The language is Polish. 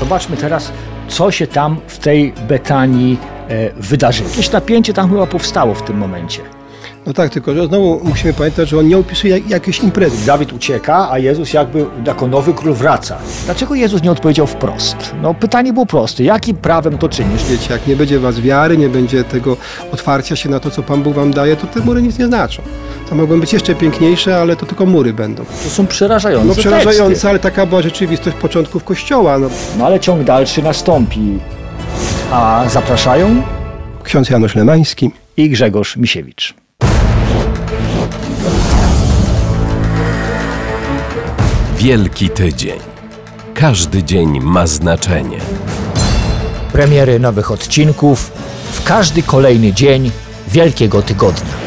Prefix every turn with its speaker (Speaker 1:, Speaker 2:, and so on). Speaker 1: zobaczmy teraz, co się tam w tej Betanii e, wydarzyło. Jakieś napięcie tam chyba powstało w tym momencie.
Speaker 2: No tak, tylko że znowu musimy pamiętać, że on nie opisuje jak, jakiejś imprezy.
Speaker 1: Dawid ucieka, a Jezus jakby jako nowy król wraca. Dlaczego Jezus nie odpowiedział wprost? No pytanie było proste. Jakim prawem to czynisz?
Speaker 2: Wiecie, jak nie będzie w was wiary, nie będzie tego otwarcia się na to, co Pan Bóg wam daje, to te mury nic nie znaczą. To mogą być jeszcze piękniejsze, ale to tylko mury będą.
Speaker 1: To są przerażające
Speaker 2: No przerażające,
Speaker 1: teksty.
Speaker 2: ale taka była rzeczywistość początków Kościoła. No,
Speaker 1: No ale ciąg dalszy nastąpi. A zapraszają
Speaker 2: ksiądz Janusz Lemański.
Speaker 1: i Grzegorz Misiewicz.
Speaker 3: Wielki Tydzień. Każdy dzień ma znaczenie.
Speaker 1: Premiery nowych odcinków w każdy kolejny dzień Wielkiego Tygodnia.